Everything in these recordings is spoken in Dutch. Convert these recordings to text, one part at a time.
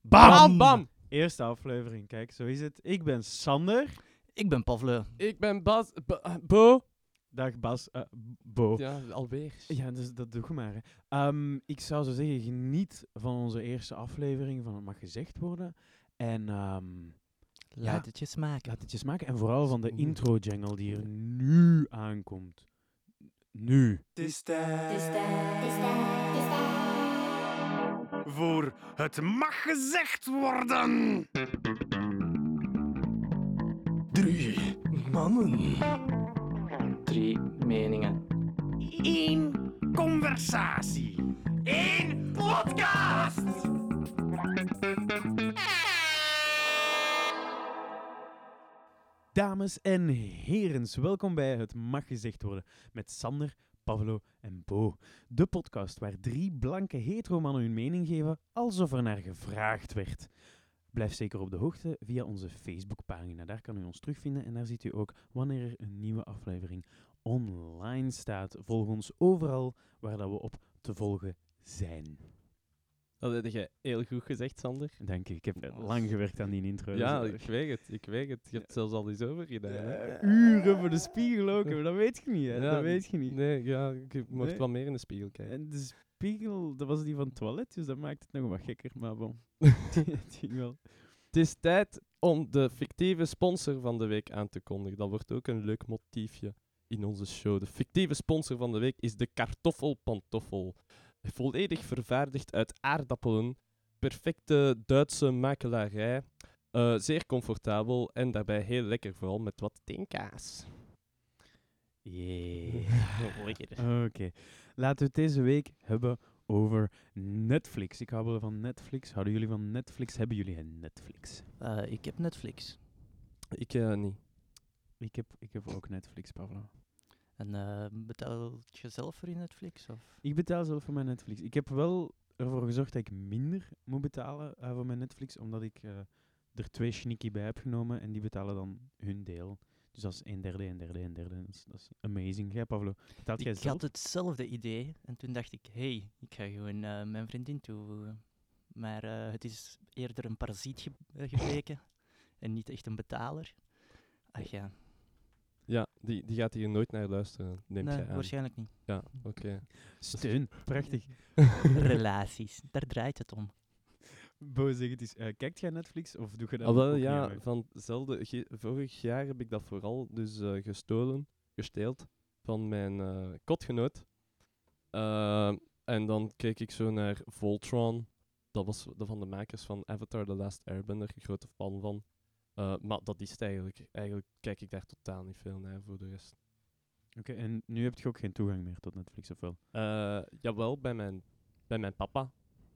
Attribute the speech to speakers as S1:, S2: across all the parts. S1: Bam!
S2: Bam!
S3: Eerste aflevering, kijk, zo is het. Ik ben Sander.
S1: Ik ben Pavle.
S2: Ik ben Bas... Ba- eh, Bo.
S3: Dag Bas. eh, Bo. Ja,
S2: Ja, alweer.
S3: dus dat doe je maar. Hè. Ehm, ik zou zo zeggen, geniet van onze eerste aflevering, van het mag gezegd worden. En ehm,
S1: Laat
S3: Ja.
S1: het je smaken.
S3: laat het je smaken. En vooral van de
S2: Oeh.
S3: intro-jangle die er nu aankomt. Nu.
S4: Het is Voor het mag gezegd worden. Drie mannen.
S5: drie meningen.
S4: Eén conversatie. Eén podcast.
S3: Dames en herens, welkom bij Het Mag Gezegd Worden met Sander, Pavlo en Bo. De podcast waar drie blanke heteromannen hun mening geven alsof er naar gevraagd werd. Blijf zeker op de hoogte via onze Facebookpagina. Daar kan u ons terugvinden en daar ziet u ook wanneer er een nieuwe aflevering online staat. Volg ons overal waar dat we op te volgen zijn.
S2: Dat heb je heel goed gezegd, Sander.
S3: Dank je, ik heb
S2: Ja.
S3: lang gewerkt aan die intro.
S2: Ja,
S3: Dus, eh,
S2: ik weet het. Ik weet het. Je hebt zelfs al iets over gedaan. hè.
S3: eh, uren voor de spiegel ook, maar dat weet je niet. Hè?
S2: Ja,
S3: dat weet je niet.
S2: Nee, ja, je mocht
S3: Nee.
S2: wel meer in de spiegel kijken.
S3: En de spiegel, dat was die van het toilet, dus dat maakt het nog wat gekker, maar bon. het ging wel.
S2: Het is tijd om de fictieve sponsor van de week aan te kondigen. Dat wordt ook een leuk motiefje in onze show. De fictieve sponsor van de week is de kartoffelpantoffel. Volledig vervaardigd uit aardappelen. Perfecte Duitse makelarij. Eh, zeer comfortabel en daarbij heel lekker, vooral met wat tinkaas.
S5: Lekker.
S3: Oké, laten we het deze week hebben over Netflix. Ik hou wel van Netflix. Houden jullie van Netflix? Hebben jullie een Netflix?
S1: Eh, ik heb Netflix.
S2: Ik eh, niet.
S3: Ik heb, ik heb ook Netflix, Pavlo.
S1: En eh betaal je zelf voor je Netflix? Of?
S3: Ik betaal zelf voor mijn Netflix. Ik heb wel ervoor gezorgd dat ik minder moet betalen eh, voor mijn Netflix, omdat ik eh, er twee sneaky bij heb genomen en die betalen dan hun deel. Dus dat is een derde, een derde, een derde. Dat is, dat is amazing. Jij, Pavlo, betaalt jij
S1: Ik
S3: zelf?
S1: had hetzelfde idee en toen dacht ik, hé, hey, ik ga gewoon eh, mijn vriendin toevoegen. Maar eh, het is eerder een parasiet ge- eh, gebleken en niet echt een betaler. Ach ja,
S2: Ja, die, die gaat hier nooit naar luisteren, neemt
S1: nee,
S2: jij aan.
S1: waarschijnlijk niet.
S2: Ja, oké.
S3: Steun. Prachtig.
S1: Relaties, daar draait het om.
S3: Bo, zeg het eens. eh, kijkt jij Netflix of doe je dat
S2: Alhoewel,
S3: ook niet
S2: ja,
S3: eigenlijk?
S2: van hetzelfde. ge- Vorig jaar heb ik dat vooral dus eh, gestolen, gesteeld van mijn eh, kotgenoot. Ehm, en dan keek ik zo naar Voltron. Dat was de, van de makers van Avatar The Last Airbender, grote fan van. Eh, maar dat is het eigenlijk. Eigenlijk kijk ik daar totaal niet veel naar voor de rest.
S3: Oké, en nu heb je ook geen toegang meer tot Netflix, of wel?
S2: Eh, jawel, bij mijn, bij mijn papa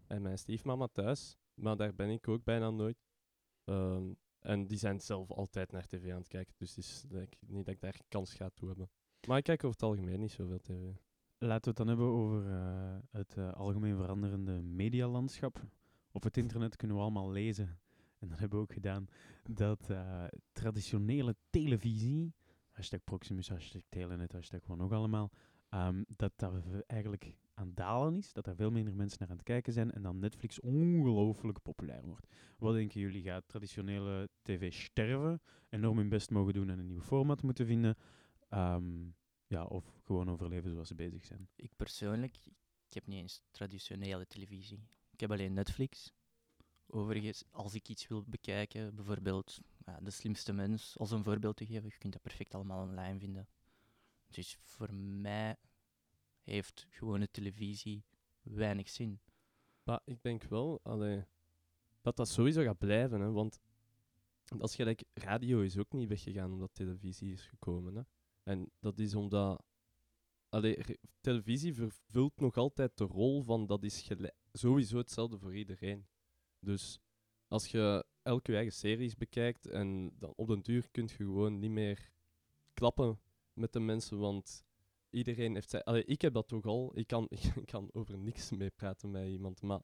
S2: en mijn stiefmama thuis. Maar daar ben ik ook bijna nooit. Ehm, en die zijn zelf altijd naar tv aan het kijken. Dus het is dat ik- niet dat ik daar kans ga toe hebben. Maar ik kijk over het algemeen niet zoveel tv.
S3: Laten we het dan hebben over eh, het eh, algemeen veranderende medialandschap. Op het internet kunnen we allemaal lezen, en dat hebben we ook gedaan, dat eh, traditionele televisie, hashtag Proximus, hashtag Telenet, hashtag wat nog allemaal, ehm, dat dat we eigenlijk aan het dalen is, dat er veel minder mensen naar aan het kijken zijn en dan Netflix ongelooflijk populair wordt. Wat denken jullie, gaat traditionele tv sterven, enorm hun best mogen doen en een nieuw format moeten vinden? Ehm, ja, of gewoon overleven zoals ze bezig zijn.
S1: Ik persoonlijk, ik heb niet eens traditionele televisie. Ik heb alleen Netflix. Overigens, als ik iets wil bekijken, bijvoorbeeld ja, De Slimste Mens, als een voorbeeld te geven, je kunt dat perfect allemaal online vinden. Dus voor mij heeft gewone televisie weinig zin.
S2: Maar ik denk wel allee, dat dat sowieso gaat blijven. Hè, want dat is gelijk, radio is ook niet weggegaan omdat televisie is gekomen. Hè. En dat is omdat allee, re- televisie vervult nog altijd de rol van dat is gelijk- sowieso hetzelfde voor iedereen. Dus als je elke je eigen series bekijkt en dan op den duur kun je gewoon niet meer klappen met de mensen, want iedereen heeft zijn... Allee, ik heb dat toch al. Ik kan, ik kan over niks meepraten met iemand, maar...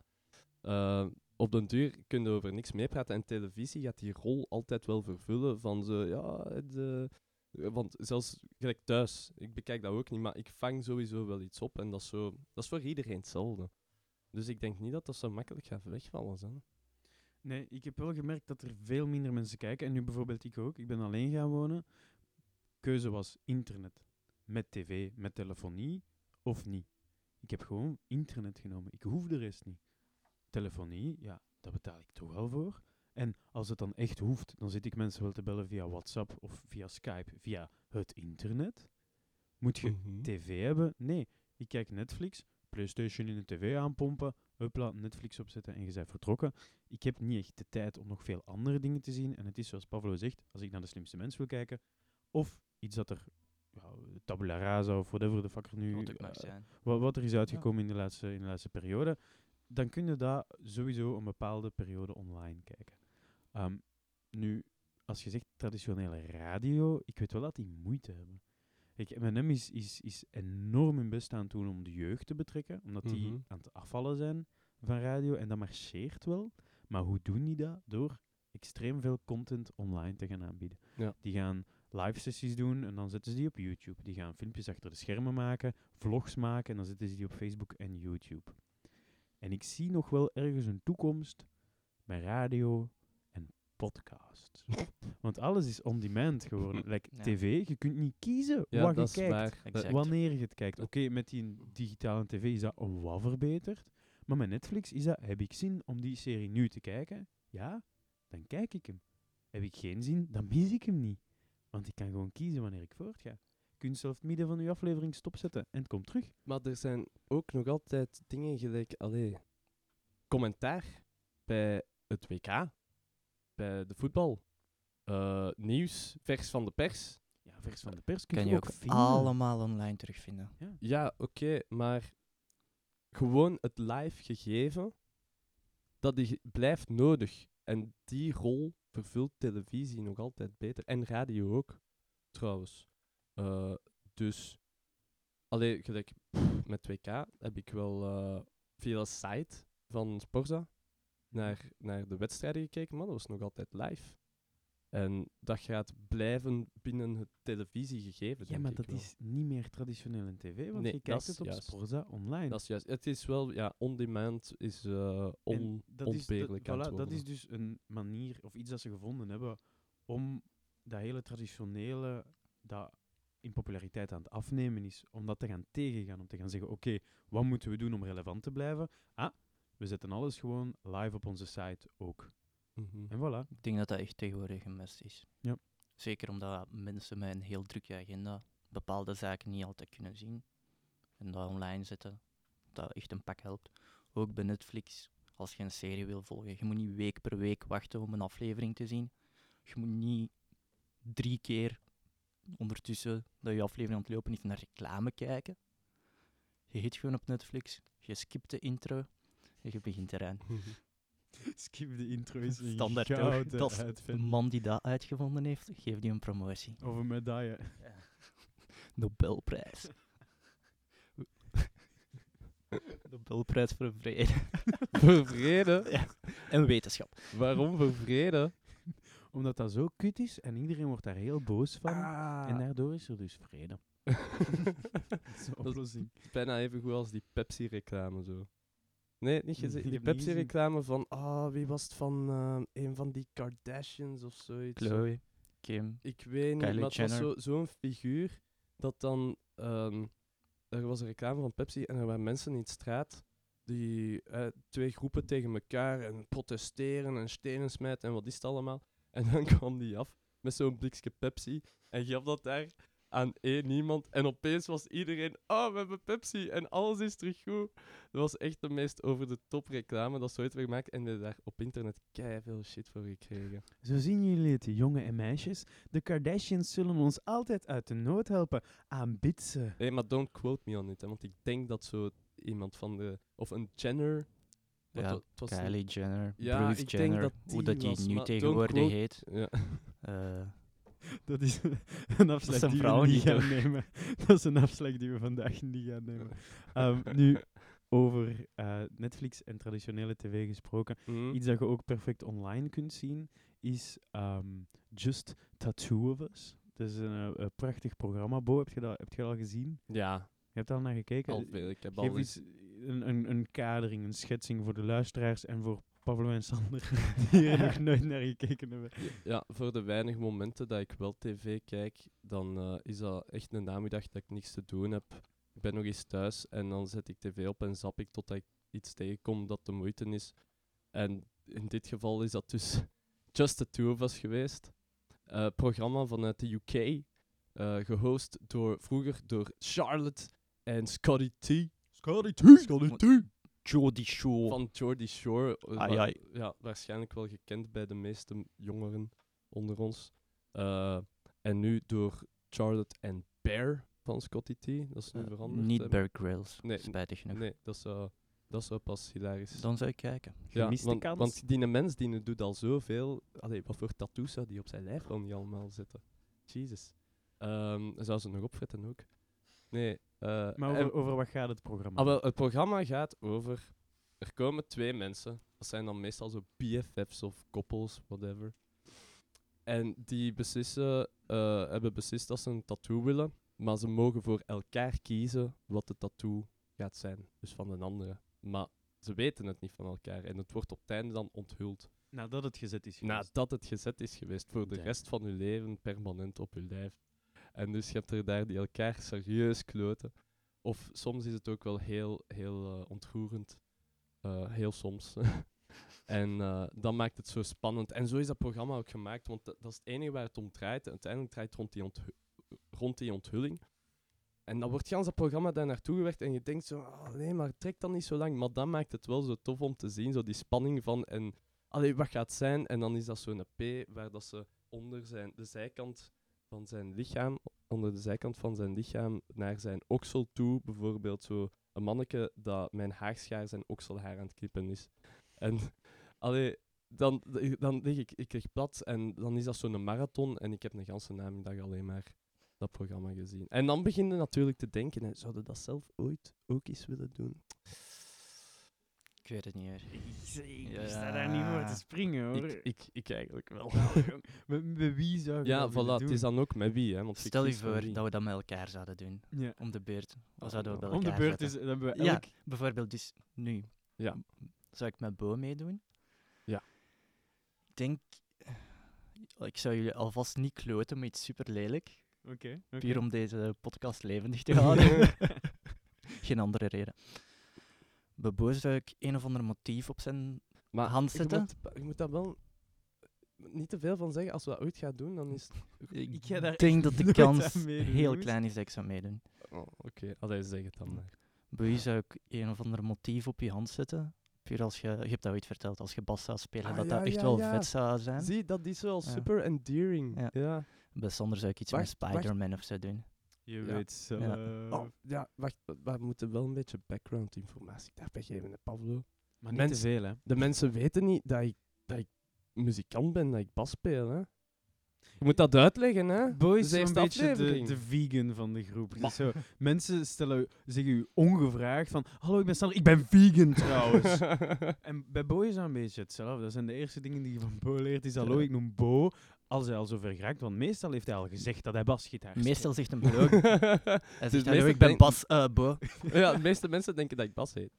S2: eh, op den duur kun je over niks meepraten en televisie gaat die rol altijd wel vervullen van zo, ja, het, eh, want zelfs gelijk thuis, ik bekijk dat ook niet, maar ik vang sowieso wel iets op en dat is, zo, dat is voor iedereen hetzelfde. Dus ik denk niet dat dat zo makkelijk gaat wegvallen. Zijn.
S3: Nee, ik heb wel gemerkt dat er veel minder mensen kijken. En nu bijvoorbeeld ik ook. Ik ben alleen gaan wonen. Keuze was internet. Met tv, met telefonie of niet. Ik heb gewoon internet genomen. Ik hoef de rest niet. Telefonie, ja, daar betaal ik toch wel voor. En als het dan echt hoeft, dan zit ik mensen wel te bellen via WhatsApp of via Skype, via het internet. Moet je
S2: Mhm.
S3: tv hebben? Nee, ik kijk Netflix, PlayStation in de tv aanpompen, hupla, Netflix opzetten en je bent vertrokken. Ik heb niet echt de tijd om nog veel andere dingen te zien. En het is zoals Pavlo zegt, als ik naar de slimste mens wil kijken, of iets dat er, ja, tabula rasa of whatever de fuck er nu...
S1: Wat ook mag
S3: eh,
S1: zijn.
S3: wa- wat er is uitgekomen in, de laatste, in de laatste periode, dan kun je daar sowieso een bepaalde periode online kijken. Ehm, nu, als je zegt traditionele radio, ik weet wel dat die moeite hebben. Kijk, M&M is, is, is enorm hun best aan het doen om de jeugd te betrekken, omdat
S2: Mhm.
S3: die aan het afvallen zijn van radio en dat marcheert wel. Maar hoe doen die dat? Door extreem veel content online te gaan aanbieden.
S2: Ja.
S3: Die gaan live sessies doen en dan zetten ze die op YouTube. Die gaan filmpjes achter de schermen maken, vlogs maken en dan zetten ze die op Facebook en YouTube. En ik zie nog wel ergens een toekomst bij radio en podcast. Want alles is on demand geworden. Like
S1: Ja.
S3: tv, je kunt niet kiezen
S2: Ja,
S3: wat
S2: dat
S3: je
S2: is
S3: kijkt.
S2: waar. Dat-
S1: Exact.
S3: Wanneer je het kijkt. Oké, met die digitale tv is dat een wat verbeterd. Maar met Netflix is dat, heb ik zin om die serie nu te kijken? Ja, dan kijk ik hem. Heb ik geen zin, dan mis ik hem niet. Want ik kan gewoon kiezen wanneer ik voortga. Je kunt zelf het midden van uw aflevering stopzetten en het komt terug.
S2: Maar er zijn ook nog altijd dingen gelijk, allee, commentaar bij het WK, bij de voetbal, eh, nieuws, vers van de pers.
S3: Ja, vers van de pers kun
S1: Kan
S3: je,
S1: je
S3: ook
S1: ook
S3: vinden.
S1: allemaal online terugvinden.
S2: Ja, oké, maar gewoon het live gegeven, dat die ge- blijft nodig. En die rol vervult televisie nog altijd beter. En radio ook, trouwens. Eh, dus, alleen gelijk pff, met 2K heb ik wel eh, via de site van Sporza naar, naar de wedstrijden gekeken, maar dat was nog altijd live. En dat gaat blijven binnen het televisiegegeven.
S3: Ja,
S2: denk
S3: maar
S2: ik
S3: dat
S2: wel.
S3: is niet meer traditioneel in tv, want
S2: Nee,
S3: je
S2: dat
S3: kijkt
S2: is
S3: het op
S2: juist.
S3: Sporza online.
S2: Dat is juist. Het is wel, ja, on-demand is eh
S3: En
S2: on,
S3: dat is de-
S2: onontbeerlijk aan
S3: voilà,
S2: het
S3: Dat
S2: worden.
S3: is dus een manier of iets dat ze gevonden hebben om dat hele traditionele, dat in populariteit aan het afnemen is, om dat te gaan tegengaan. Om te gaan zeggen, oké, wat moeten we doen om relevant te blijven? Ah, we zetten alles gewoon live op onze site ook.
S2: Mhm.
S3: En voilà.
S1: Ik denk dat dat echt tegenwoordig een mess is.
S3: Ja.
S1: Zeker omdat mensen met een heel drukke agenda bepaalde zaken niet altijd kunnen zien. En dat online zetten, dat echt een pak helpt. Ook bij Netflix, als je een serie wil volgen. Je moet niet week per week wachten om een aflevering te zien. Je moet niet drie keer ondertussen dat je aflevering aan het lopen is naar reclame kijken. Je hit gewoon op Netflix, je skipt de intro en je begint eraan.
S3: Skip de intro is een
S1: Standaard toch?
S3: gouden
S1: Dat is De
S3: uitvinding.
S1: man die dat uitgevonden heeft, geef die een promotie.
S3: Of een medaille.
S1: Nobelprijs. Nobelprijs voor vrede.
S2: Voor vrede?
S1: Ja, En wetenschap.
S2: Waarom voor vrede?
S3: Omdat dat zo kut is en iedereen wordt daar heel boos van.
S1: Ah.
S3: En daardoor is er dus vrede. Dat is een
S2: dat is
S3: oplossing.
S2: bijna even goed als die Pepsi-reclame zo. Nee, niet gezien.
S3: Ik
S2: Die
S3: heb niet
S2: Pepsi-reclame van, ah, wie was het van eh, een van die Kardashians of zoiets.
S1: Chloe, Kim.
S2: Ik weet niet,
S1: Kylie
S2: maar het was zo-
S1: Jenner.
S2: zo'n figuur dat dan... ehm, er was een reclame van Pepsi en er waren mensen in de straat die eh, twee groepen tegen elkaar en protesteren en stenen smijten en wat is het allemaal. En dan kwam die af met zo'n blikje Pepsi en gaf dat daar aan één iemand. En opeens was iedereen, oh, we hebben Pepsi en alles is terug goed. Dat was echt de meest over de top reclame dat ze ooit werd gemaakt. En die hebben daar op internet veel shit voor gekregen.
S3: Zo zien jullie het, jongen en meisjes. De Kardashians zullen ons altijd uit de nood helpen. Aanbid ze.
S2: Nee, maar don't quote me on it, hè, want ik denk dat zo iemand van de... Of een Jenner... want
S1: Ja,
S2: dat- het was een-
S1: Kylie Jenner,
S2: Ja,
S1: Bruce
S2: ik denk
S1: Jenner,
S2: dat
S1: hoe
S2: die
S1: dat die
S2: was,
S1: nu
S2: maar
S1: tegenwoordig
S2: don't quote-
S1: heet.
S2: Ja.
S1: Eh,
S3: Dat is een
S1: Dat
S3: afslag
S1: zijn
S3: die we
S1: vrouwen
S3: niet
S1: niet,
S3: gaan
S1: hoor.
S3: nemen. Dat is een afslag die we vandaag niet gaan nemen. Ehm, nu, over eh, Netflix en traditionele tv gesproken.
S2: Mhm.
S3: Iets dat je ook perfect online kunt zien, is ehm, Just Tattoo of Us. Dat is een, eh, een prachtig programma. Bo, heb je dat, heb je dat al gezien?
S2: Ja,
S3: Je hebt daar al naar gekeken?
S2: al veel. Ik heb al
S3: Geef
S2: eens...
S3: eens een, een, een kadering, een schetsing voor de luisteraars en voor Pavlo en Sander, die er nog nooit naar gekeken hebben.
S2: Ja, voor de weinig momenten dat ik wel tv kijk, dan eh, is dat echt een namiddag dat ik niks te doen heb. Ik ben nog eens thuis en dan zet ik tv op en zap ik totdat ik iets tegenkom dat de moeite is. En in dit geval is dat dus Just the Two of Us geweest. Eh, programma vanuit de UK, eh, gehost door, vroeger door Charlotte en Scotty T. Scotty T! Scotty T!
S1: Jodie Shaw.
S2: van Jordy Shore. eh,
S1: Oh. Ai,
S2: wa-
S1: ai.
S2: Ja, waarschijnlijk wel gekend bij de meeste m- jongeren onder ons. Eh, en nu door Charlotte en Bear van Scotty T. Dat is nu
S1: Eh,
S2: veranderd.
S1: niet
S2: hè, maar-
S1: Bear Grylls,
S2: Nee,
S1: spijtig genoeg.
S2: Nee, dat zou, dat zou pas hilarisch
S1: Dan zou ik kijken.
S2: ja,
S3: gemiste
S2: want,
S3: kans.
S2: want die mens die doet al zoveel. Allee, wat voor tattoos zou die op zijn lijf wel niet allemaal zetten? Jezus. Ehm, zou ze nog opvetten ook? Nee. eh,
S3: Maar
S2: en-
S3: over, over wat gaat het programma?
S2: Ah, wel, het programma gaat over. Er komen twee mensen. Dat zijn dan meestal zo BFF's of koppels, whatever. En die beslissen, eh, hebben beslist dat ze een tattoo willen. Maar ze mogen voor elkaar kiezen wat de tattoo gaat zijn. Dus van een andere. Maar ze weten het niet van elkaar. En het wordt op het einde dan onthuld.
S3: Nadat Nou, het gezet is geweest.
S2: Nadat het gezet is geweest voor de
S3: Damn.
S2: rest van hun leven permanent op hun lijf. En dus je hebt er daar die elkaar serieus kloten. Of soms is het ook wel heel, heel eh, ontroerend. Eh, heel soms. en eh, dat maakt het zo spannend. En zo is dat programma ook gemaakt, want dat, dat is het enige waar het om draait. En uiteindelijk draait het rond die, onthu- rond die onthulling. En dan wordt gans dat programma daar naartoe gewerkt en je denkt zo, "Ah, nee, maar trek dan niet zo lang. Maar dat maakt het wel zo tof om te zien, zo die spanning van en Allee, wat gaat het zijn? En dan is dat zo'n P waar dat ze onder zijn, de zijkant van zijn lichaam, onder de zijkant van zijn lichaam naar zijn oksel toe, bijvoorbeeld zo een manneke dat mijn haarschaar zijn okselhaar aan het knippen is. En allee, dan, dan lig ik, ik lig plat en dan is dat zo'n marathon en ik heb een ganse namiddag alleen maar dat programma gezien. En dan begin je natuurlijk te denken, hè, zouden we dat zelf ooit ook eens willen doen?
S1: Ik weet het niet meer.
S3: Ik sta daar niet voor te springen hoor.
S2: Ik, ik, ik eigenlijk wel.
S3: met, met wie zou ik
S2: Ja,
S3: dat
S2: voilà.
S3: willen
S2: Het is
S3: doen?
S2: dan ook met wie, hè? Want je
S1: Stel je
S2: kiest van
S1: voor
S2: wie.
S1: dat we dat met elkaar zouden doen.
S3: Ja.
S1: Om de beurt. Wat
S2: Oh,
S1: zouden we bij
S2: oh.
S1: elkaar
S3: Om de beurt is,
S1: zetten?
S3: dan hebben we
S1: Ja.
S3: elk...
S1: Bijvoorbeeld dus nu.
S2: Ja.
S1: Zou ik met Bo meedoen?
S2: Ja.
S1: Ik denk... eh, Ik zou jullie alvast niet kloten met iets super lelijk.
S3: Oké.
S1: Puur om deze podcast levendig te houden. Geen andere reden. Bij Bo zou ik een of ander motief op zijn...
S2: Maar
S1: hand
S2: je
S1: zetten?
S2: moet- Je moet, daar wel niet te veel van zeggen. Als we dat ooit gaan doen, dan is het.
S3: Ik ga daar
S1: denk
S3: echt
S1: dat de
S3: nooit aan
S1: kans
S3: meedoen,
S1: heel
S3: jongens.
S1: klein is dat ik zou meedoen.
S2: Oh, Oké, allee, zeg het dan maar.
S1: Boei zou ik een of ander motief op je hand zetten. Puur als je, je hebt dat ooit verteld, als je bas zou spelen,
S2: Ah,
S1: dat
S2: ja,
S1: dat echt
S2: ja,
S1: wel
S2: ja.
S1: vet zou zijn.
S2: Zie, dat is wel
S1: Ja.
S2: super endearing.
S1: Ja.
S2: Ja. Ja.
S1: Bij Sander zou ik iets
S2: Wacht,
S1: met
S2: wacht.
S1: Spider-Man of zo doen.
S3: Je
S2: Ja.
S3: weet zo...
S1: Ja.
S2: Oh, ja, wacht. we- We moeten wel een beetje background informatie daarbij geven, hè, Pablo.
S3: Maar niet te
S2: mensen-
S3: veel hè.
S2: De mensen weten niet dat ik, dat ik muzikant ben, dat ik bas speel. Hè. Je moet dat uitleggen, hè?
S3: Boy
S2: Dus
S3: is
S2: eerste
S3: een beetje de,
S2: aflevering.
S3: de vegan van de groep. Dus zo, mensen stellen, zeggen u ongevraagd van... Hallo, ik ben Sander. Ik ben vegan trouwens. en bij Bo is dat een beetje hetzelfde. Dat zijn de eerste dingen die je van Bo leert. Is hallo,
S2: Ja.
S3: ik noem Bo. Als hij al zover geraakt. Want meestal heeft hij al gezegd dat hij basgitaar speelt.
S1: Meestal zegt een blok. Hij
S2: Dus
S1: zegt, "Hallo,
S2: meestal
S1: ik ben
S2: denk-
S1: Bas eh, Bo.
S2: ja, de meeste mensen denken dat ik bas heet.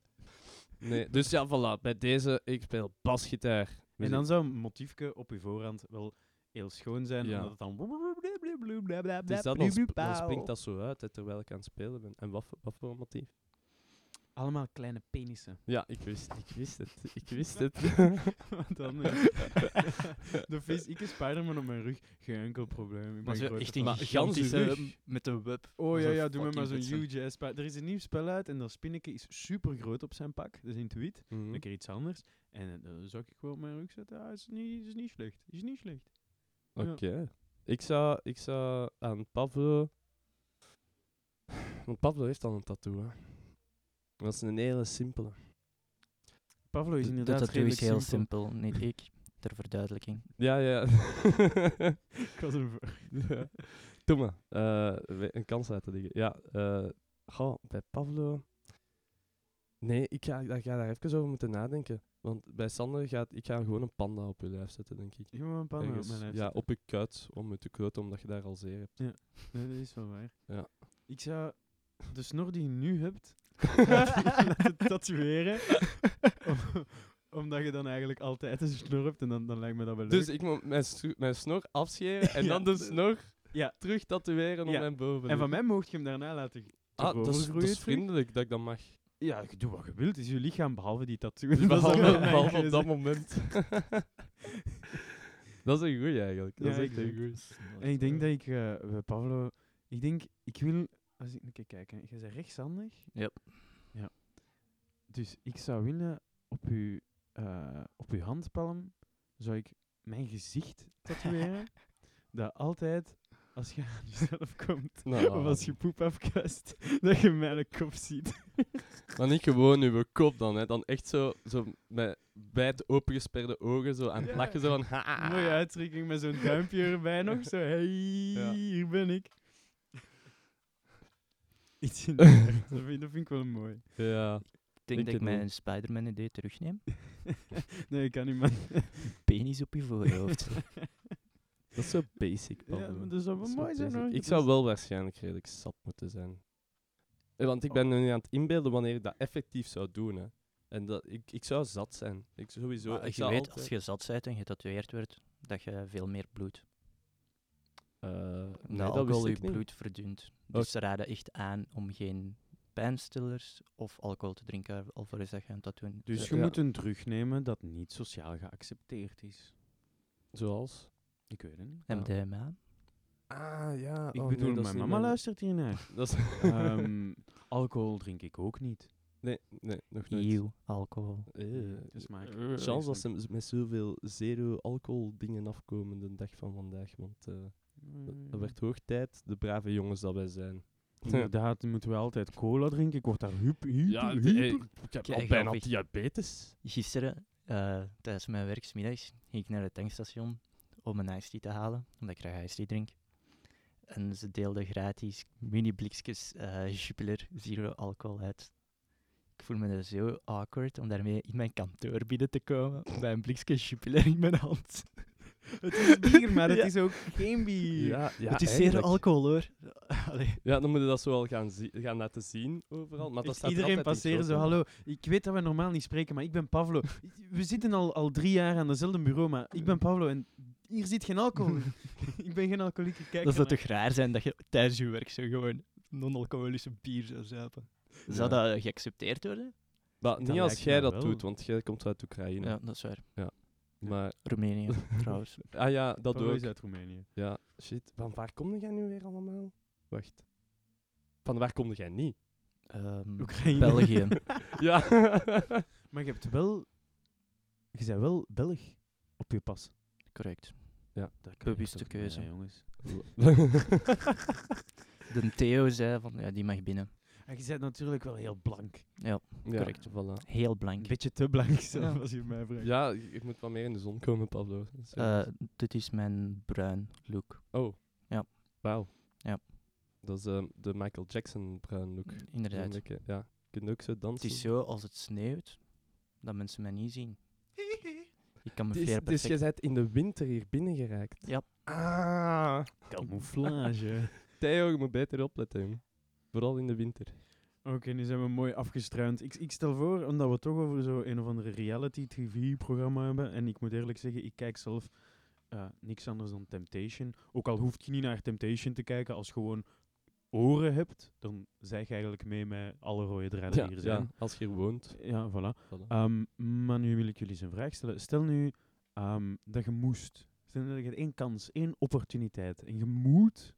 S2: Nee, dus ja, voilà. Bij deze, ik speel basgitaar. Dus
S3: En dan zou een motiefje op uw voorhand wel heel schoon zijn.
S2: Ja.
S3: Omdat het dan...
S2: dus dat, dan, sp- dan springt dat zo uit, hè, terwijl ik aan het spelen ben. En wat, voor- wat voor motief?
S3: Allemaal kleine penissen.
S2: Ja, ik wist, ik wist het. Ik wist het.
S3: Want dan is het- de vis, ik is Spider-Man op mijn rug, geen enkel probleem.
S1: Maar
S3: Ik ben
S1: zo
S3: grote
S1: echt een eh,
S3: fan.
S2: Maar gigantische-
S1: gigantische... Met een web.
S3: Oh ja,
S1: Zo
S3: ja, doe me
S1: fucking
S3: maar zo'n
S1: vet zijn.
S3: huge ass spider. Er is een nieuw spel uit en dat spinneke is super groot op zijn pak. Dus intuït, een
S2: Mhm.
S3: keer iets anders. En eh, dan zou ik gewoon op mijn rug zetten. Ah, is niet, is niet slecht. Is niet slecht.
S2: Oké. Ik, zou, ik zou aan Pablo... Want Pablo heeft al een tattoo, hè. Dat is een hele simpele.
S3: Pavlo is
S1: De- De
S3: inderdaad
S1: tattoo is heel
S3: redelijk
S1: simpel, niet ik. Ter verduidelijking.
S2: Ja, ja.
S3: Ik was een ver-
S2: Ja. Doe maar. Eh, we- een kans laten liggen. Ja. eh, goh, bij Pablo... Nee, ik ga, ik ga daar even over moeten nadenken. Want bij Sander gaat... Ik ga gewoon een panda op je lijf zetten, denk ik.
S3: Ik moet mijn pannen op
S2: Ergens,
S3: mijn lijf
S2: ja,
S3: zetten.
S2: op je kuit om je te kloten, omdat je daar al zeer hebt.
S3: Nee, dat is wel waar.
S2: Ja.
S3: Ik zou de snor die je nu hebt, laten laten tatoeëren. Om- Omdat je dan eigenlijk altijd eens snurpt en dan, dan lijkt me dat wel leuk.
S2: Dus ik moet mijn, sno- mijn snor afscheren en
S3: Ja.
S2: dan de snor
S3: Ja.
S2: terug tatoeëren op
S3: Ja.
S2: mijn boven.
S3: en van mij mocht je hem daarna laten
S2: ah, dat is, dat
S3: overgroeien
S2: is
S3: terug.
S2: vriendelijk dat ik dat mag.
S3: Ja, je doet wat je wilt. Het is je lichaam, behalve die tattoo.
S2: Dus
S3: Dat is
S2: behalve,
S3: allemaal mijn
S2: behalve op
S3: keuze.
S2: dat moment. dat is een goeie eigenlijk. Dat
S3: Ja,
S2: is echt
S3: exact.
S2: een goeie.
S3: En ik denk dat ik eh, bij Pablo... Ik denk, ik wil... Als ik een keer kijk, hè. je bent rechtshandig.
S1: Yep.
S3: Ja. Dus ik zou willen op uw, eh, op uw handpalm zou ik mijn gezicht tatoeëren. dat altijd, als je aan jezelf komt,
S2: Nou.
S3: of als je poep afkast, dat je mijn kop ziet.
S2: Maar niet gewoon uw kop dan, hè. Dan echt zo, zo met wijd opengesperde ogen zo aan het
S3: Ja.
S2: lachen. Zo van, ha, ha, ha.
S3: Mooie uitdrukking met zo'n duimpje erbij nog. Zo, hey,
S2: Ja.
S3: hier ben ik. Iets in de buurt. dat, vind, dat vind ik wel mooi.
S2: Ja.
S1: Ik denk
S2: Ik
S1: dat ik
S2: het ook.
S1: mijn Spider-Man idee terugneem.
S3: nee, ik kan niet, man.
S1: Penis op je voorhoofd.
S2: Dat is zo basic,
S3: Ja,
S2: Pablo.
S3: maar Oh, dat
S2: Dat
S3: zou wel
S2: is
S3: mooi
S2: wat
S3: zijn
S2: deze-
S3: hoor.
S2: Ik
S3: Dat
S2: zou
S3: is-
S2: wel waarschijnlijk redelijk sap moeten zijn. Eh, Want ik ben nu aan het inbeelden wanneer ik dat effectief zou doen. Hè. En dat, ik, ik zou zat zijn. Ik sowieso.
S1: Maar
S2: ik
S1: je
S2: zou
S1: weet,
S2: altijd-
S1: als je zat bent en getatoeëerd wordt, dat je veel meer bloed.
S2: Eh,
S1: dat
S2: nee, dat wist
S1: alcohol je
S2: ik niet.
S1: bloed verdunt. Dus ze raden echt aan om geen pijnstillers of alcohol te drinken alvorens dat je een tattoo doet.
S3: Dus je
S2: Ja.
S3: moet een drug nemen dat niet sociaal geaccepteerd is.
S2: Zoals?
S3: Ik weet het niet.
S2: Ja.
S1: MDMA.
S2: Ah, ja.
S3: Ik
S2: oh, nee,
S3: bedoel,
S2: dat is
S3: mijn
S2: niet
S3: mama luistert hiernaar.
S2: Dat is...
S3: Ehm, alcohol drink ik ook niet.
S2: nee, nee, nog nooit.
S1: Eeuw, alcohol.
S2: Eh,
S3: De smaak.
S2: eh,
S3: Nee,
S2: Chance dat
S3: snap
S2: ze m- met zoveel zero alcohol dingen afkomen de dag van vandaag. Want eh dat werd hoog tijd, de brave jongens dat wij zijn.
S3: Inderdaad, dan moeten we altijd cola drinken. Ik word daar hup, hyper, hyper.
S2: ik heb
S1: al Kijk, bijna grappig.
S2: diabetes.
S1: Gisteren, eh, tijdens mijn werksmiddags, ging ik naar het tankstation om een iced tea te halen, omdat ik graag iced tea drink. En ze deelden gratis mini blikjes eh, Jupiler Zero Alcohol uit. Ik voel me daar zo awkward om daarmee in mijn kantoor binnen te komen, bij een blikje Jupiler in mijn hand.
S3: Het is bier, maar het
S1: Ja.
S3: is ook geen bier.
S2: Ja, ja,
S1: het is
S2: eigenlijk.
S1: zero alcohol hoor. Allee.
S2: Ja, dan moeten we dat zo wel gaan, zi- gaan laten zien overal. Maar dat
S3: Ik-
S2: staat er
S3: iedereen
S2: altijd in
S3: passeren zo,
S2: grote.
S3: hallo, ik weet dat we normaal niet spreken, maar ik ben Pavlo. We zitten al, al drie jaar aan hetzelfde bureau, maar ik ben Pavlo en hier zit geen alcohol. in. ik ben geen alcoholieker, kijk
S1: Dat zou
S3: ernaar.
S1: toch raar zijn dat je tijdens je werk zo gewoon non-alcoholische bier zou zuipen. Zou
S2: Ja.
S1: dat geaccepteerd worden?
S2: Maar
S3: Dat
S2: niet als
S3: lijkt me
S2: jij dat
S3: wel.
S2: doet, want jij komt uit Oekraïne.
S1: Ja, dat is waar.
S2: Maar,
S1: Roemenië, trouwens.
S2: ah ja, dat
S3: Pavlo
S2: doe
S3: is
S2: ik.
S3: uit Roemenië.
S2: Ja, shit. Van waar kom jij nu weer allemaal? Wacht. Van waar kom jij niet?
S1: Ehm,
S3: Oekraïne.
S1: België.
S2: ja.
S3: Maar je hebt wel... Je bent wel Belg op je pas.
S1: Correct.
S3: Dat kan
S1: Bewuste
S3: toch niet,
S1: keuze.
S3: hè, jongens.
S1: De Theo zei van, ja, die mag binnen.
S3: En je bent natuurlijk wel heel blank.
S1: Correct.
S2: Ja, voilà.
S1: Heel
S3: Een
S1: blank.
S3: beetje te blank, zelf, als je mij vraagt.
S2: Ja, ik moet wat meer in de zon komen, Pablo.
S1: Eh, dit is mijn bruin look.
S2: oh.
S1: ja.
S2: Wauw.
S1: Ja.
S2: Dat is eh, de Michael Jackson bruin look. Zo'n
S1: Inderdaad.
S2: beetje, Ja. Je kunt ook zo
S1: Het
S2: dansen.
S1: is zo, als het sneeuwt, dat mensen mij niet zien. Ik kan me
S2: Dus,
S1: perfect.
S2: dus je bent in de winter hier binnen geraakt.
S1: Ja.
S2: Ah.
S3: Camouflage.
S2: Theo, je moet beter opletten. jong. Vooral in de winter.
S3: Oké, nu zijn we mooi afgestruind. Ik, ik stel voor, omdat we het toch over zo een of andere reality TV-programma hebben. En ik moet eerlijk zeggen, ik kijk zelf eh, niks anders dan Temptation. Ook al hoef je niet naar Temptation te kijken, als je gewoon oren hebt, dan zeg je eigenlijk mee met alle rode draden die hier zijn.
S2: als je hier woont.
S3: Ja, voilà.
S2: Voilà.
S1: Ah.
S3: Ehm, maar nu wil ik jullie eens een vraag stellen. Stel nu ehm, dat je moest. Stel nu dat je één kans, één opportuniteit. En je moet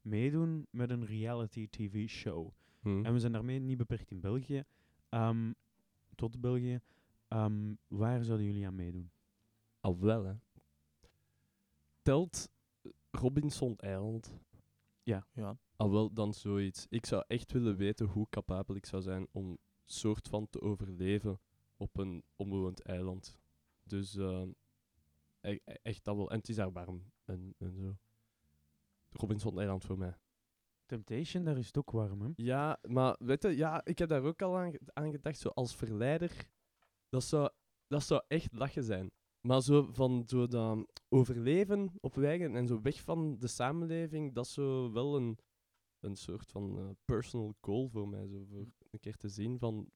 S3: meedoen met een reality TV-show.
S2: Hm.
S3: En we zijn daarmee niet beperkt in België. ehm, tot België. Ehm, waar zouden jullie aan meedoen?
S2: Al wel, hè. Telt Robinson Island
S1: Ja,
S2: Al Ah, wel, dan zoiets. Ik zou echt willen weten hoe capabel ik zou zijn om soort van te overleven op een onbewoond eiland. Dus ehm, e- e- echt dat wel. En het is daar warm en, en zo. Robinson-eiland voor mij.
S3: Temptation, daar is het ook warm, hè?
S2: Ja, maar weet je, ja, ik heb daar ook al aan, ge- aan gedacht, zo als verleider. Dat zou, dat zou echt lachen zijn. Maar zo van zo dat overleven op wijgen en zo weg van de samenleving, dat is zo wel een, een soort van eh, personal goal voor mij. Zo voor een keer te zien van,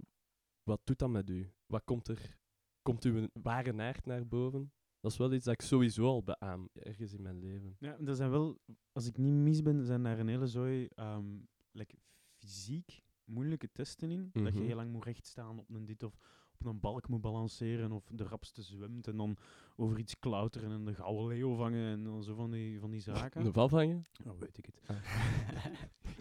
S2: wat doet dat met u? Wat komt er komt uw ware naard naar boven. Dat is wel iets dat ik sowieso al beaam, ergens in mijn leven.
S3: Ja, er zijn wel, als ik niet mis ben, zijn daar een hele zooi ehm, like, fysiek moeilijke testen in. Dat je
S2: Mhm.
S3: heel lang moet rechtstaan op een dit of op een balk moet balanceren of de rapste zwemt en dan over iets klauteren en de gouden leeuw vangen en dan zo van die, van die zaken.
S2: De val vangen?
S3: Nou, weet ik het.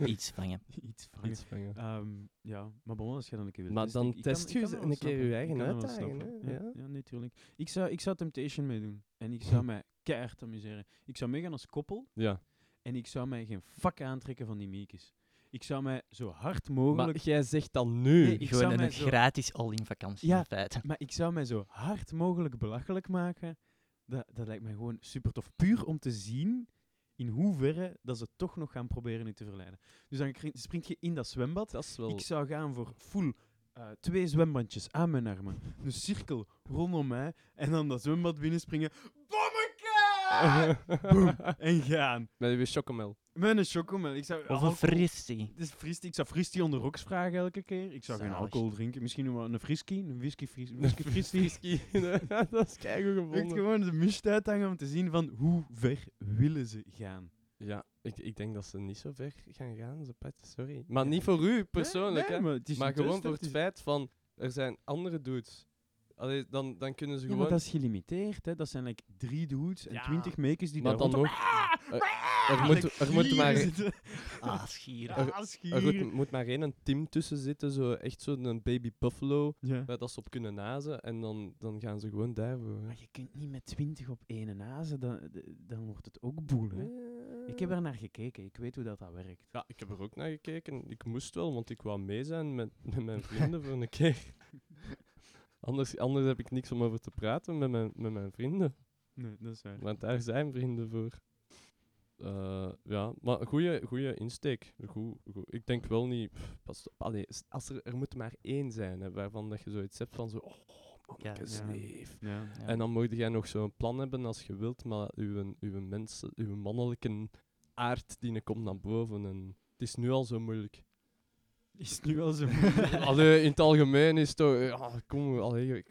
S1: Iets vangen.
S3: iets vangen.
S2: Iets vangen.
S3: Ehm, ja, maar bon, als je dan een keer wilt
S2: Maar
S3: testen,
S2: dan
S3: ik- ik kan-
S2: test
S3: ik
S2: je
S3: kan
S2: ze
S3: dat
S2: een
S3: wel
S2: keer je
S3: snappen.
S2: eigen
S3: Ik kan dat wel
S2: uitdaging,
S3: snappen.
S2: hè?
S3: Ja,
S2: Ja.
S3: ja, natuurlijk. Ik zou, ik zou Temptation meedoen. En ik zou mij keihard amuseren. Ik zou meegaan als koppel.
S2: Ja.
S3: En ik zou mij geen vak aantrekken van die miekjes. Ik zou mij zo hard
S2: Maar
S3: mogelijk...
S2: jij zegt dan nu.
S3: Nee, ik- zou
S1: Gewoon
S3: mij
S1: een
S3: zo-
S1: gratis all-in vakantie
S3: Ja.
S1: in feite.
S3: Maar ik zou mij zo hard mogelijk belachelijk maken. Dat, dat lijkt mij gewoon super tof. Puur om te zien in hoeverre dat ze toch nog gaan proberen u te verleiden. Dus dan kri- spring je in dat zwembad.
S2: Dat is wel...
S3: Ik zou gaan voor full eh, twee zwembandjes aan mijn armen. Een cirkel rondom mij. En dan dat zwembad binnenspringen. Bommeke! Boom. En gaan.
S2: Met uw chocomel.
S3: Met een chocomel. Ik zou
S1: Of een
S3: alcohol-
S1: fristie.
S3: Dus fris, ik zou fristie onder rocks vragen elke keer. Ik zou geen
S1: Zalig.
S3: alcohol drinken. Misschien nog wel een friskie, een whisky, fris, whisky fristie.
S2: dat is keigoed
S3: Echt
S2: gevonden.
S3: gewoon de mist uithangen om te zien van hoe ver willen ze gaan.
S2: Ja, ik, ik denk dat ze niet zo ver gaan gaan, ze pet, sorry. Maar niet voor u persoonlijk,
S3: Nee,
S2: hè.
S3: maar, het is
S2: maar
S3: een
S2: gewoon
S3: test,
S2: voor
S3: hè.
S2: het feit van, er zijn andere dudes. Allee, dan, dan kunnen ze
S3: Ja, maar
S2: gewoon...
S3: dat is gelimiteerd, hè. Dat zijn like drie dudes en
S4: Ja.
S3: twintig meekjes die
S2: Maar
S3: daar
S2: dan Ah, nog...
S3: Eh,
S2: Er, er moet, er, moet maar, er,
S1: Ah, schier.
S2: er moet, moet maar één team tussen zitten, zo, echt zo'n baby buffalo,
S3: Ja.
S2: waar dat ze op kunnen nazen. En dan, dan gaan ze gewoon daarvoor. hè.
S3: Maar je kunt niet met twintig op één nazen, dan, dan wordt het ook boel, hè. Ik heb er naar gekeken, ik weet hoe dat, dat werkt.
S2: Ja, ik heb er ook naar gekeken. Ik moest wel, want ik wou mee zijn met, met mijn vrienden voor een keer. Anders, anders heb ik niks om over te praten met mijn, met mijn vrienden.
S3: Nee, dat is waar.
S2: Want daar zijn vrienden voor. Eh, ja, maar goede goeie insteek. Goed, goed. Ik denk wel niet. pff, Pas op, allee, s- als er, er moet maar één zijn hè, waarvan dat je zoiets hebt van zo. Oh,
S1: Ja,
S2: manneke,
S1: ja.
S2: zweef.
S3: Ja.
S1: Ja.
S2: En dan moet jij nog zo'n plan hebben als je wilt, maar uw, uw, mensen, uw mannelijke aard die komt naar boven. En het is nu al zo moeilijk.
S3: Is het nu al zo
S2: Allee, in het algemeen is het toch... Ja, kom, allee, ik...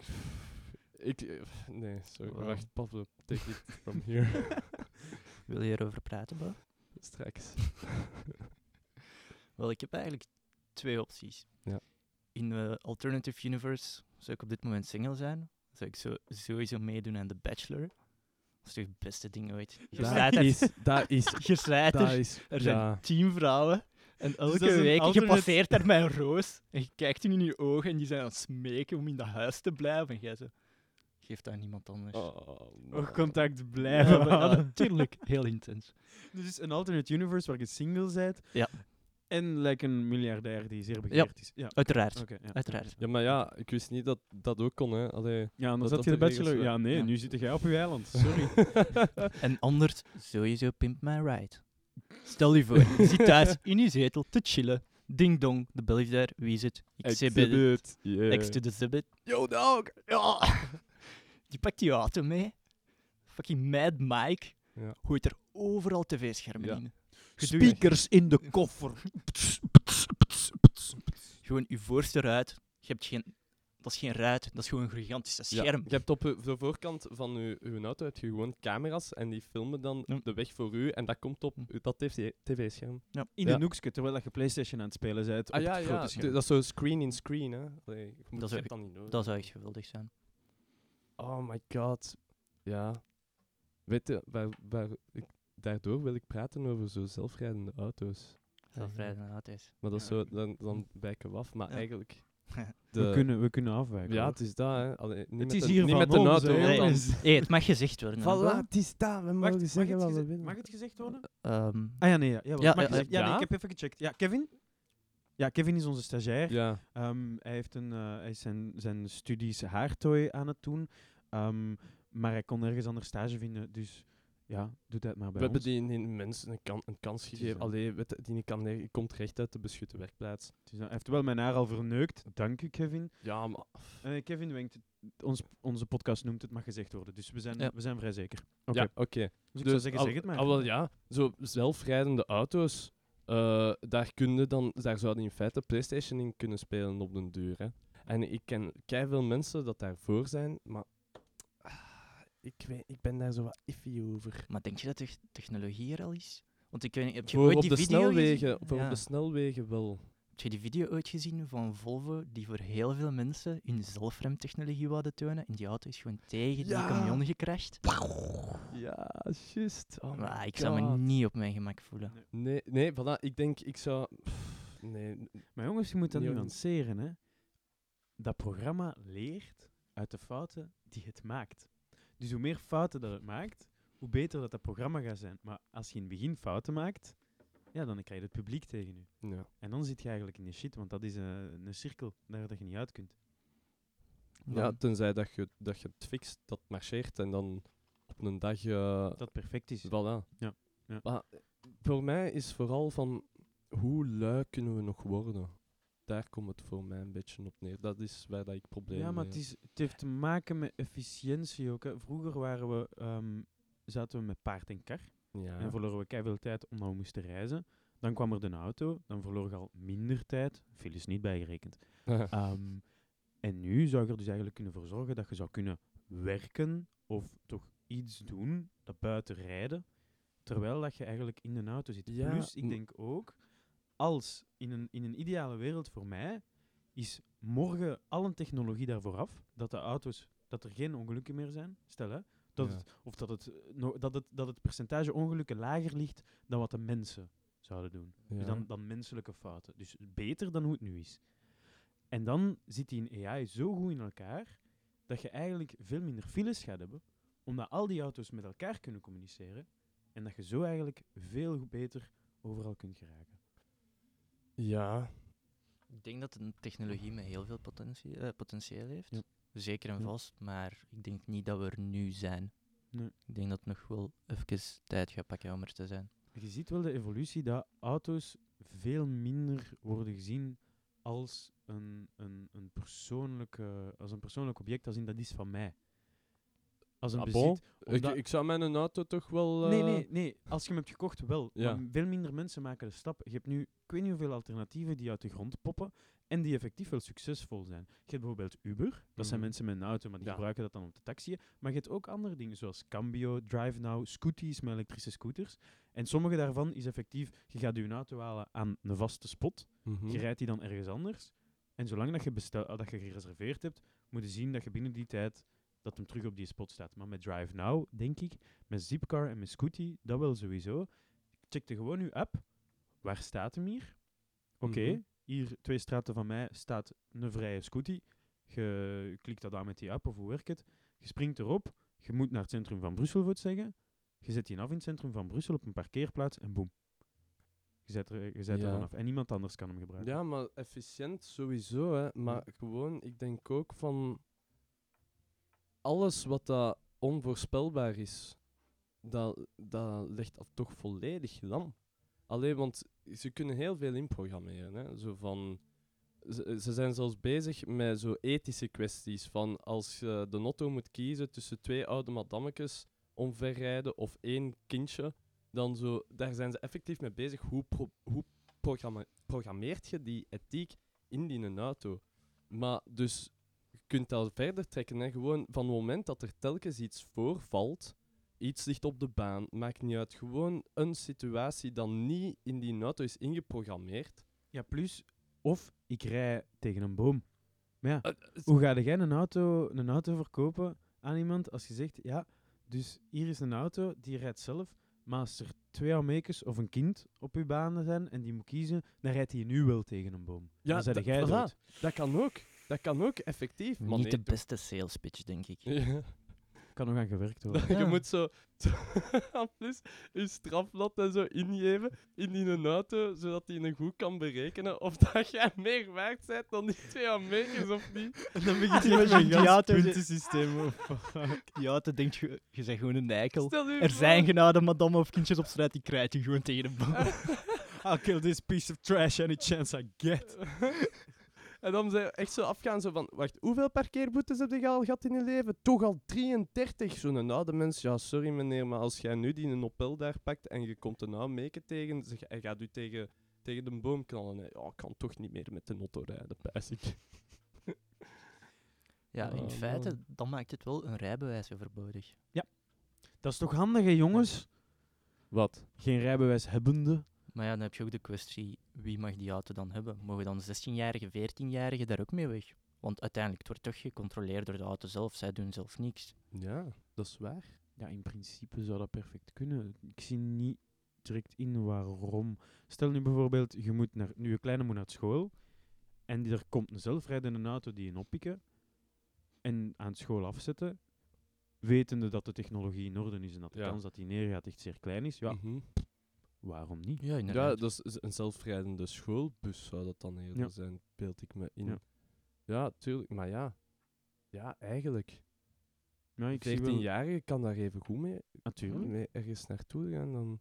S2: Ik... eh, Nee, sorry.
S1: Wow.
S2: Wacht, Pablo. Take it from here.
S1: Wil je erover praten, Bo?
S2: Straks.
S1: Wel, ik heb eigenlijk twee opties.
S2: Ja.
S1: In de alternative universe zou ik op dit moment single zijn. Zou ik zo, sowieso meedoen aan The Bachelor. Dat is toch het beste ding ooit. Je
S2: Dat
S1: slaat er,
S2: is... Dat is...
S1: je slaat
S2: Dat
S1: er,
S2: is...
S1: er zijn
S2: ja.
S1: tien vrouwen. En elke
S3: dat is een
S1: week, je
S3: alternate-
S1: passeert daar met een roos. En je kijkt hun in je ogen en die zijn aan het smeken om in dat huis te blijven. En jij zo, geef dat aan niemand anders.
S2: Oh,
S3: Nog
S2: man.
S3: contact
S1: Ja,
S3: blijven
S1: maar- ja,
S3: houden.
S1: tuurlijk, heel intens.
S3: Dus een alternate universe waar je single bent.
S1: Ja.
S3: En like een miljardair die zeer begeerd is. Ja.
S1: Uiteraard,
S3: Oké. ja.
S1: uiteraard.
S2: Ja, maar ja, ik wist niet dat dat ook kon, hè. Allee...
S3: Ja, dan
S2: Dat-
S3: zat
S2: dat
S3: je de
S2: de regels
S3: bachelor. Ja,
S2: waren.
S3: nee,
S1: Ja.
S3: nu zit jij op je eiland. Sorry.
S1: En anders sowieso Pimp My Ride. Stel je voor, je zit thuis in je zetel te chillen. Ding dong, de bel is daar. Wie is het? Exhibit.
S2: Yeah.
S1: X to the exhibit. Yo dog! Ja. Die pakt die auto mee. Fucking Mad Mike.
S2: Ja.
S1: Gooit er overal tv-schermen
S2: Ja.
S1: in.
S3: Speakers in de koffer.
S1: Gewoon je voorste ruit. Je hebt geen... Dat is geen ruit, dat is gewoon een gigantische
S2: Ja,
S1: scherm.
S2: je hebt op uw- de voorkant van uw, uw auto heb je gewoon camera's en die filmen dan
S1: Ja.
S2: de weg voor u en dat komt op
S1: Hm.
S2: uw- dat tv-scherm.
S3: In
S2: Ja.
S3: een hoekje, terwijl dat je Playstation aan het spelen bent.
S2: Ah
S3: op
S2: ja,
S3: het
S2: ja.
S3: grote
S2: d-
S3: scherm.
S2: Dat is zo screen-in-screen, hè. Allee, je
S1: Dat
S2: moet- je
S1: zou
S2: hebt
S1: ik-
S2: dat niet nodig.
S1: Dat zou echt geweldig zijn.
S2: Oh my god. Ja. Weet je, waar, waar ik, daardoor wil ik praten over zo zelfrijdende auto's.
S1: Dat vrij naar het is.
S2: Maar dat is
S1: Ja.
S2: zo, dan, dan wijken we af. Maar
S1: Ja.
S2: eigenlijk...
S3: we, kunnen, we kunnen afwijken.
S2: eh, ja,
S3: hoor.
S2: het is dat, hè. Allee, niet met
S3: het is
S2: een-
S3: hier
S2: niet
S3: van
S2: met een
S3: ons,
S2: auto.
S3: hè,
S2: want dan-
S3: jongens. Wacht,
S1: Hé, het mag gezegd worden. hè,
S2: Voilà,
S1: Bo?
S2: het is dat. We
S3: mag
S2: mogen
S3: het
S2: zeggen wat
S3: geze-
S2: we willen.
S3: Mag het gezegd worden?
S1: Ehm,
S3: Ah ja, nee. Ja, jawel,
S1: Ja,
S3: het mag
S1: ja,
S3: gezegd- ja, nee,
S2: ja.
S3: ik heb even gecheckt. Ja, Kevin? Ja, Kevin is onze stagiair.
S2: Ja.
S3: Ehm, hij, heeft een, eh, hij is zijn, zijn studies haartooi aan het doen. Ehm, maar hij kon nergens anders stage vinden. Dus ja, doe dat maar bij
S2: We hebben
S3: ons.
S2: die, die mensen een, kan, een kans
S3: is
S2: gegeven.
S3: zo.
S2: Allee, weet je, die kan, die komt recht uit de beschutte werkplaats.
S3: Dus, nou, hij heeft wel mijn haar al verneukt. Dank u, Kevin.
S2: Ja, maar...
S3: Eh, Kevin wenkt. Ons, onze podcast noemt het mag gezegd worden. Dus we zijn,
S1: Ja.
S3: we zijn vrij zeker.
S2: Ja, oké.
S3: Dus ik
S2: Dus
S3: zou zeggen,
S2: al-
S3: zeg het maar.
S2: al wel, ja, zo zelfrijdende auto's, eh, daar, kun je dan, daar zou je in feite PlayStation in kunnen spelen op den duur. Hè. En ik ken veel mensen dat daarvoor zijn, maar ah, ik, weet, ik ben daar zo wat iffy over.
S1: Maar denk je dat de technologie er al is? Want ik weet niet, heb je
S2: Voor
S1: ooit
S2: op
S1: die
S2: de
S1: video gezien?
S2: snelwegen, voor
S1: Ja.
S2: op de snelwegen wel.
S1: Heb je die video ooit gezien van Volvo die voor heel veel mensen hun zelfremtechnologie wouden tonen? En die auto is gewoon tegen die
S2: Ja.
S1: camion gecrashed.
S2: Ja, juist. Oh my
S1: Maar ik zou me
S2: God.
S1: niet op mijn gemak voelen.
S2: Nee, nee, voilà, ik denk, ik zou... pff, Nee,
S3: Maar jongens, je moet dat
S2: Ja.
S3: nuanceren, hè. Dat programma leert uit de fouten die het maakt. Dus hoe meer fouten dat het maakt, hoe beter dat dat programma gaat zijn. Maar als je in het begin fouten maakt, ja, dan krijg je het publiek tegen je.
S2: ja.
S3: En dan zit je eigenlijk in de shit, want dat is eh, een, een cirkel daar dat je niet uit kunt.
S2: Ja, tenzij dat je, dat je het fixt, dat marcheert en dan op een dag... eh,
S3: Dat perfect is.
S2: Voilà.
S3: Ja, ja.
S2: Maar eh, voor mij is vooral van hoe lui kunnen we nog worden? Daar komt het voor mij een beetje op neer. Dat is waar dat ik problemen
S3: Ja, maar
S2: mee
S3: het, is, het heeft te maken met efficiëntie ook. Hè. Vroeger waren we, ehm, zaten we met paard en kar
S2: heb. Ja.
S3: en verloren we keihard tijd omdat we moesten reizen. Dan kwam er de auto, dan verloor je al minder tijd, veel is niet bijgerekend. Ehm, en nu zou je er dus eigenlijk kunnen voor zorgen dat je zou kunnen werken of toch iets doen dat buiten rijden, terwijl dat je eigenlijk in een auto zit.
S2: Ja,
S3: Plus, ik
S2: m-
S3: denk ook, als in een, in een ideale wereld voor mij, is morgen al een technologie daarvoor af, dat de auto's, dat er geen ongelukken meer zijn, stel hè, dat
S2: Ja.
S3: het, of dat het, eh, no- dat, het, dat het percentage ongelukken lager ligt dan wat de mensen zouden doen.
S2: Ja.
S3: Dus dan, dan menselijke fouten. Dus beter dan hoe het nu is. En dan zit die in AI zo goed in elkaar dat je eigenlijk veel minder files gaat hebben, omdat al die auto's met elkaar kunnen communiceren en dat je zo eigenlijk veel goed beter overal kunt geraken.
S2: ja.
S1: Ik denk dat een technologie met heel veel potentie, eh, potentieel heeft.
S3: Ja.
S1: Zeker en
S3: Ja.
S1: vast, maar ik denk niet dat we er nu zijn.
S3: Nee.
S1: Ik denk dat het nog wel even tijd gaat pakken om er te zijn.
S3: Maar je ziet wel de evolutie dat auto's veel minder worden gezien als een, een, een, persoonlijke, als een persoonlijk object, als in dat is van mij. Als een
S2: Ah,
S3: bezit.
S2: bon? Ik,
S3: omdat-
S2: ik zou mijn auto toch wel...
S3: Nee,
S2: eh,
S3: nee, nee. Als je hem hebt gekocht, wel.
S2: Ja.
S3: Maar veel minder mensen maken de stap. Je hebt nu, ik weet niet hoeveel alternatieven die uit de grond poppen en die effectief wel succesvol zijn. Je hebt bijvoorbeeld Uber. Dat zijn
S2: Mhm.
S3: mensen met een auto, maar die
S2: Ja.
S3: gebruiken dat dan op de taxi. Maar je hebt ook andere dingen, zoals Cambio, DriveNow, Scooties met elektrische scooters. En sommige daarvan is effectief, je gaat je auto halen aan een vaste spot.
S2: mhm.
S3: Je rijdt die dan ergens anders. En zolang dat je, bestel, ah, dat je gereserveerd hebt, moet je zien dat je binnen die tijd dat hem terug op die spot staat. Maar met Drive Now, denk ik, met Zipcar en met Scooty, dat wel sowieso. Check je gewoon uw app. Waar staat hem hier? Oké,
S2: Mhm.
S3: hier twee straten van mij staat een vrije Scooty. Je klikt dat aan met die app of hoe werkt het? Je springt erop. Je moet naar het centrum van Brussel, voor het zeggen. Je zet die af in het centrum van Brussel op een parkeerplaats en boem. Je zet er, je zet er
S2: Ja.
S3: vanaf. En niemand anders kan hem gebruiken.
S2: Ja, maar efficiënt sowieso, hè. Maar gewoon, ik denk ook van... Alles wat dat onvoorspelbaar is, dat, dat legt dat toch volledig lam. Alleen, want ze kunnen heel veel inprogrammeren, hè. Zo van... Ze, ze zijn zelfs bezig met zo ethische kwesties, van als je de notto moet kiezen tussen twee oude madammetjes omverrijden of één kindje, dan zo... Daar zijn ze effectief mee bezig. Hoe, pro- hoe programma programmeert je die ethiek in die een auto. Maar dus je kunt dat verder trekken. Hè. Gewoon van het moment dat er telkens iets voorvalt, iets ligt op de baan, maakt niet uit. Gewoon een situatie dat niet in die auto is ingeprogrammeerd.
S3: Ja, plus, of ik rij tegen een boom. Maar ja,
S2: Eh, eh,
S3: hoe ga jij een auto, een auto verkopen aan iemand als je zegt, ja, dus hier is een auto, die rijdt zelf, maar als er twee almekers of een kind op uw banen zijn en die moet kiezen, dan rijdt hij nu wel tegen een boom. dan zeg
S2: dat-
S3: jij
S2: voilà.
S3: dood.
S2: Dat kan ook. Dat kan ook effectief. Maar
S1: Niet
S2: nee,
S1: de
S2: doe-
S1: beste sales pitch, denk ik.
S2: Ja.
S3: Kan nog aan gewerkt worden.
S2: Dat je moet zo, zo aan plus je strafblad en zo ingeven in die een auto, zodat hij een goed kan berekenen of dat jij meer waard bent dan die twee Amerikans of niet.
S3: En dan begint hij
S5: met zo'n gas-
S3: puntensysteem.
S5: Ja, dat denk je, je bent gewoon een eikel.
S2: Stel je
S5: Er zijn
S2: voor- Ah,
S5: genade madame of kindjes op straat, die krijt je gewoon tegen de boom.
S3: I'll kill this piece of trash any chance I get.
S2: En dan zijn we echt zo afgaan, zo van, wacht, hoeveel parkeerboetes heb je al gehad in je leven? Toch al 33, zo'n oude mens. Ja, sorry meneer, maar als jij nu die een Opel daar pakt en je komt een oude meke tegen, zeg, hij gaat u tegen, tegen de boom knallen. hè. Ja, ik kan toch niet meer met de auto rijden, pijs ik.
S1: Ja, in
S2: Oh,
S1: feite,
S2: man.
S1: dan maakt het wel een rijbewijs overbodig.
S3: Dat is toch handig, hè, jongens?
S2: Wat?
S3: Geen rijbewijs hebbende.
S1: Maar ja, dan heb je ook de kwestie, wie mag die auto dan hebben? Mogen dan 16-jarigen, 14-jarigen daar ook mee weg? Want uiteindelijk, het wordt toch gecontroleerd door de auto zelf. Zij doen zelf niks.
S2: Ja, dat is waar.
S3: Ja, in principe zou dat perfect kunnen. Ik zie niet direct in waarom. Stel nu bijvoorbeeld, je moet naar, nu je kleine moet naar school. En die- er komt een zelfrijdende auto die je oppikken. En aan school afzetten. Wetende dat de technologie in orde is en dat de
S2: Ja.
S3: kans dat die neergaat echt zeer klein is. Ja,
S2: Mhm.
S3: waarom niet?
S1: Ja,
S2: Ja,
S1: inderdaad.
S2: dat is- is een zelfrijdende schoolbus zou dat dan eerder
S3: Ja.
S2: zijn, beeld ik me in.
S3: Ja.
S2: Ja. tuurlijk, maar ja. Ja, eigenlijk.
S3: Ja, ik zie wel...
S2: 14-jarige kan daar even goed mee,
S3: Natuurlijk.
S2: mee ergens naartoe gaan. Dan...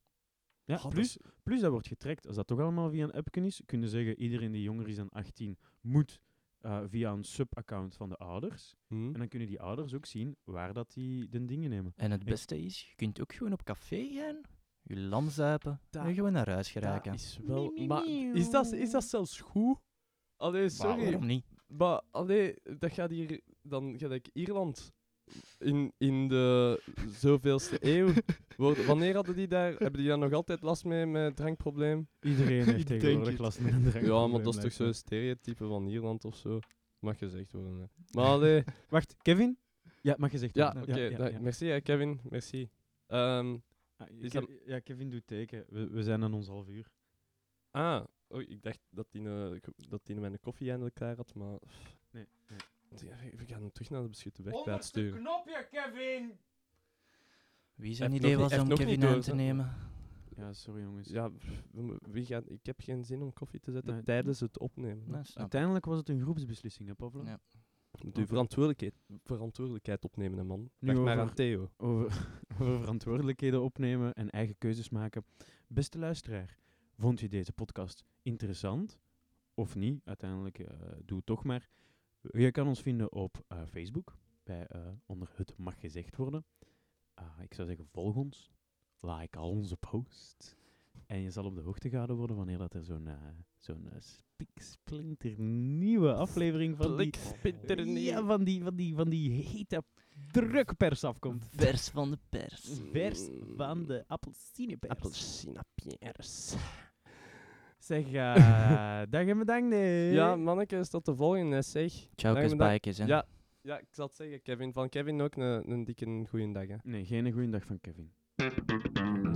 S3: Ja,
S2: Ah, dat
S3: plus,
S2: is-
S3: Plus dat wordt getrackt. Als dat toch allemaal via een appje is, kunnen zeggen iedereen die jonger is dan 18 moet eh, via een subaccount van de ouders.
S2: Hm?
S3: En dan kunnen die ouders ook zien waar dat die de dingen nemen.
S1: En het beste is, je kunt ook gewoon op café gaan, je lam zuipen
S2: Da-
S1: en gewoon naar huis geraken.
S2: Dat is wel... Maar is dat, is dat zelfs goed? Allee,
S1: Maar
S2: sorry.
S1: waarom niet?
S2: Maar allee, dat gaat hier dan gelijk Ierland in, in de zoveelste eeuw worden. Wanneer hadden die daar? Hebben die daar nog altijd last mee met drankprobleem?
S3: Iedereen heeft
S5: denk
S3: tegenwoordig
S5: het.
S3: last met een drank.
S2: Ja, maar dat is toch zo'n stereotype van Ierland of zo? Mag gezegd worden. Hè. Maar allee,
S3: Wacht, Kevin? Ja, mag gezegd
S2: ja, oké.
S3: worden. ja,
S2: da-
S3: ja.
S2: Merci, hè, Kevin. Merci. Ehm,
S3: Ah,
S2: Is
S3: Kev- ja, Kevin doet teken. We, we zijn aan ons half uur.
S2: ah, oh, ik dacht dat die, eh, ko- dat die mijn koffie eindelijk klaar had, maar.
S3: Nee, nee.
S2: Die- We gaan hem terug naar de beschutte wegplaats sturen.
S4: knopje, Kevin!
S1: Wie zijn
S2: nog
S1: idee
S2: niet-
S1: was
S2: heeft
S1: om
S2: nog niet
S1: Kevin aan
S2: door,
S1: te
S2: hè.
S1: nemen?
S3: Ja, sorry jongens.
S2: Ja, pff, we mo- wie gaat, ik heb geen zin om koffie te zetten
S3: Nee.
S2: tijdens het opnemen. hè.
S1: Nee, snap ik.
S3: Uiteindelijk was het een groepsbeslissing, hè, Pavlo?
S1: Ja.
S2: Moet uw verantwoordelijkheid, verantwoordelijkheid opnemen, hè, man.
S3: Nu
S2: Vraag maar
S3: over-
S2: aan Theo.
S3: over, over verantwoordelijkheden opnemen en eigen keuzes maken. Beste luisteraar, vond je deze podcast interessant of niet? Uiteindelijk eh, doe het toch maar. Je kan ons vinden op eh, Facebook bij eh, onder het mag gezegd worden. Ah, ik zou zeggen volg ons, like al onze posts en je zal op de hoogte gehouden worden wanneer dat er zo'n eh, zo'n eh, spiksplinter nieuwe aflevering van die, ja, van die van die van die hete drukpers afkomt.
S1: Vers van de pers.
S3: Vers van de appelsinepers.
S2: Appelsinapiers.
S3: Zeg, eh, dag en bedankt. nee.
S2: Ja, manneke, is tot de volgende, zeg.
S1: Ciao,
S2: Dag, bedankt.
S1: kusbijkers. hè.
S2: Ja, ja, ik zal het zeggen, Kevin. Van Kevin ook een een dikke goeiedag, hè.
S3: Nee, geen goeiedag van Kevin.